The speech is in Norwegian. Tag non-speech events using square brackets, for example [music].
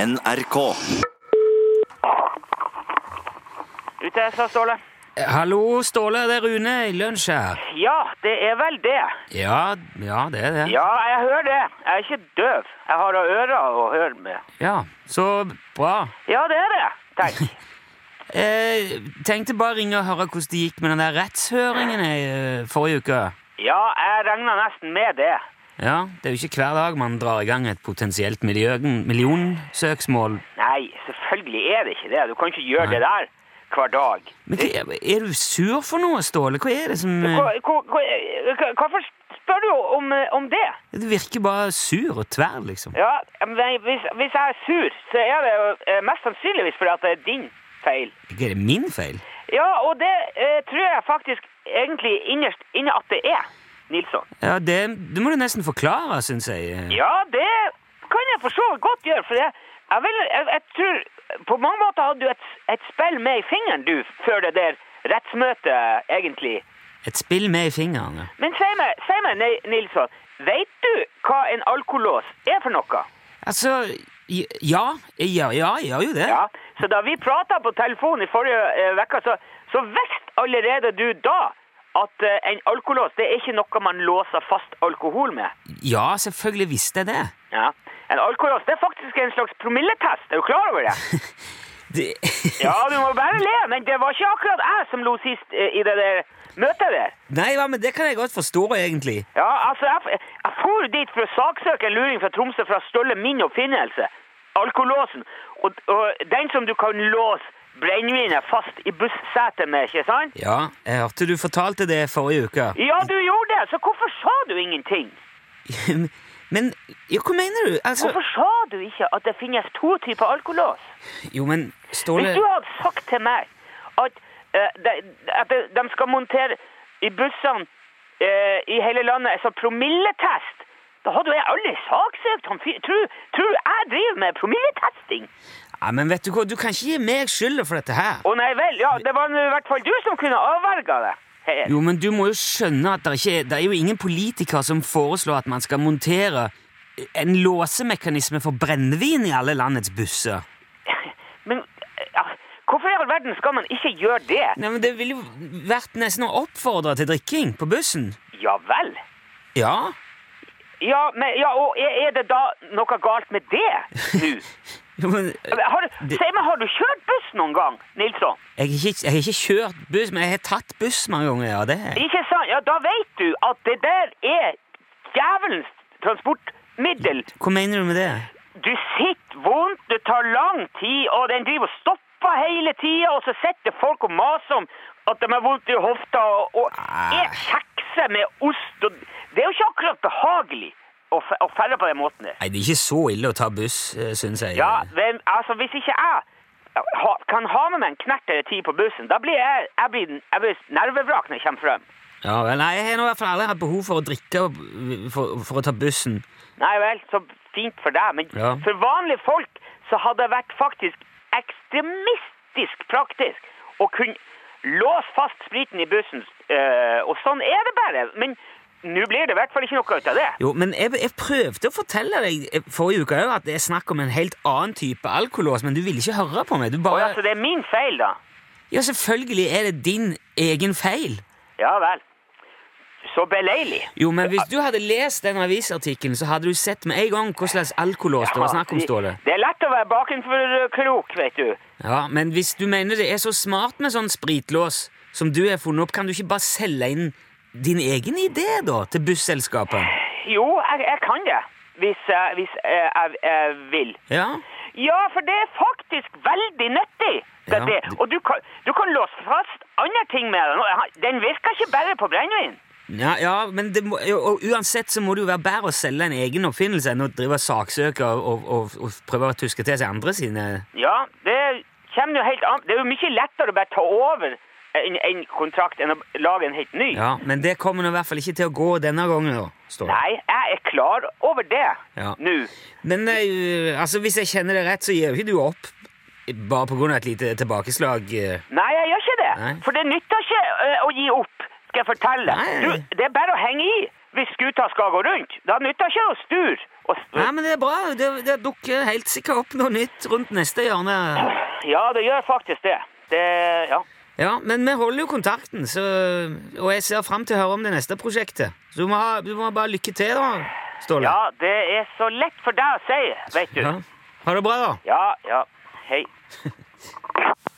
NRK. Ute, sa Ståle. Hallo, Ståle. Det er Rune i lunsj her. Ja, det er vel det. Ja, ja, det er det. Ja, jeg hører det. Jeg er ikke døv. Jeg har da ører å høre med. Ja, Så bra. Ja, det er det. Tenk. Eh, tenkte bare ringe og høre hvordan det gikk med den der rettshøringen i eh, forrige uke. Ja, jeg regner nesten med det. Ja, Det er jo ikke hver dag man drar i gang et potensielt miljø- millionsøksmål. Nei, selvfølgelig er det ikke det. Du kan ikke gjøre det der hver dag. Men hva, er du sur for noe, Ståle? Hva er det som eh, Hva- hva- hva- Hvorfor spør du om, om det? Du eh, virker bare sur og tverr, liksom. Ja, men hvis, hvis jeg er sur, så er det jo eh, mest sannsynligvis fordi at det er din feil. Er det min feil? Ja, og det eh, tror jeg faktisk egentlig innerst inne at det er, Nilsson. Ja, Det, det må du nesten forklare, syns jeg. Ja, det kan jeg for så vidt godt gjøre, for jeg, jeg, vil, jeg, jeg tror På mange måter hadde du et, et spill med i fingeren, du, før det der rettsmøtet, egentlig. Et spill med i fingrene. Men si meg, si meg Ni- Nilsson, vet du hva en alkolås er for noe? Altså j- Ja, jeg gjør- ja, jeg gjør jo det. Ja, Så da vi prata på telefon i forrige eh, uke, så, så visste allerede du da at eh, en alkolås det er ikke noe man låser fast alkohol med. Ja, selvfølgelig visste jeg det. Ja. En alkolås det er faktisk en slags promilletest. Er du klar over det? det [laughs] Ja, du må bare le, men det var ikke akkurat jeg som lo sist eh, i det der møtet der. Nei, hva, men det kan jeg godt forstå, egentlig. Ja, altså, jeg, jeg for dit for å saksøke en luring fra Tromsø for å stjåle min oppfinnelse, alkolåsen, og, og den som du kan låse brennevinet fast i bussetet med, ikke sant? Ja, jeg hørte du fortalte det forrige uke. [laughs] Ja, du gjorde det, så hvorfor sa du ingenting? Men jo, hva mener du? Altså Hvorfor sa du ikke at det finnes to typer alkolås? Jo, men Ståle Hvis du hadde sagt til meg at, eh, de, at de, de skal montere i bussene eh, i hele landet en sånn promilletest, da hadde jo jeg aldri saksøkt han fyren. Tror, tror du jeg driver med promilletesting? Ja, men vet du hva, du kan ikke gi meg skylda for dette her. Å nei vel, ja, det var nå i hvert fall du som kunne avverga det. Her. Jo, men du må jo skjønne at det, ikke er, det er jo ingen politiker som foreslår at man skal montere eh, en låsemekanisme for brennevin i alle landets busser. Men eh, ja, hvorfor i all verden skal man ikke gjøre det? Nei, men Det ville jo vært nesten å oppfordre til drikking på bussen. Ja vel. Ja. Ja, men, ja, og er er det da noe galt med det nå? [laughs] Jo, men, jeg, Har du, Det- si meg, har du kjørt buss noen gang, Nilsson? har ikke, jeg har ikke kjørt buss, men jeg har tatt buss mange ganger. ja, det er. Ikke sant? Ja, da vet du at det der er djevelens transportmiddel. Hva mener du med det? Du sitter vondt, det tar lang tid, og den driver og stopper hele tida, og så sitter folk og maser om at de har vondt i hofta, og, og Ah. er kjekse med ost. Og, det er jo ikke akkurat behagelig å, fe- å ferde på den måten der. Nei, Det er ikke så ille å ta buss, eh, synes jeg. Ja, men altså, hvis ikke jeg ha, kan ha med meg en knert eller ti på bussen, da blir jeg, jeg, blir, jeg blir nervevrak når jeg kommer frem. Ja, vel, nei, Jeg har nå i hvert fall aldri hatt behov for å drikke eh, for, for å ta bussen. Nei vel, så fint for deg, men Ja. for vanlige folk så hadde det vært faktisk ekstremistisk praktisk å kunne låse fast spriten i bussen, eh, og sånn er det bare. Men nå blir det i hvert fall ikke noe ut av det. Jo, men jeg, jeg prøvde å fortelle deg eh, forrige uke også at det er snakk om en helt annen type alkolås, men du ville ikke høre på meg. Du Og bare, altså, det er min feil, da. ja, selvfølgelig er det din egen feil. Ja vel. Så beleilig. Jo, men hvis du hadde lest den avisartikkelen, så hadde du sett med en gang hva slags alkolås det var snakk om, Ståle. Det er lett å være bakenfor eh, krok, vet du. Ja, men hvis du mener det er så smart med sånn spritlås som du har funnet opp, kan du ikke bare selge inn din egen idé, da, til busselskapet? Jo, jeg, jeg kan det. Hvis, jeg- hvis eh, jeg, jeg vil. Ja? Ja, for det er faktisk veldig nyttig. Det, Ja. det. Og du kan, du kan låse fast andre ting med den. og Den virker ikke bare på brennevin. Ja, ja men det må, jo, og uansett så må det jo være bedre å selge en egen oppfinnelse enn å drive og saksøke og, og, og, og prøve å tuske til seg andre sine Ja, det kommer jo helt an Det er jo mye lettere å bare ta over en, en kontrakt enn å lage en helt ny. Ja, men det kommer nå i hvert fall ikke til å gå denne gangen, da. Står det. Nei, jeg er klar over det Ja. nå. Men eh, altså, hvis jeg kjenner det rett, så gir jo ikke du opp bare på grunn av et lite tilbakeslag. eh. Nei, jeg gjør ikke det. Nei. For det nytter ikke eh, å gi opp. skal jeg fortelle. Nei. Du, det er bare å henge i hvis skuta skal gå rundt. Da nytter ikke å sture. Og s- Nei, men det er bra. Det, det dukker helt sikkert opp noe nytt rundt neste hjørne. Ja, det gjør faktisk det. Det, ja. Ja, men vi holder jo kontakten, så, og jeg ser fram til å høre om det neste prosjektet. Så du må, ha, du må bare lykke til, da, Ståle. ja, det er så lett for deg å si, vet du. Ja. Ha det bra, da. Ja, ja. Hei.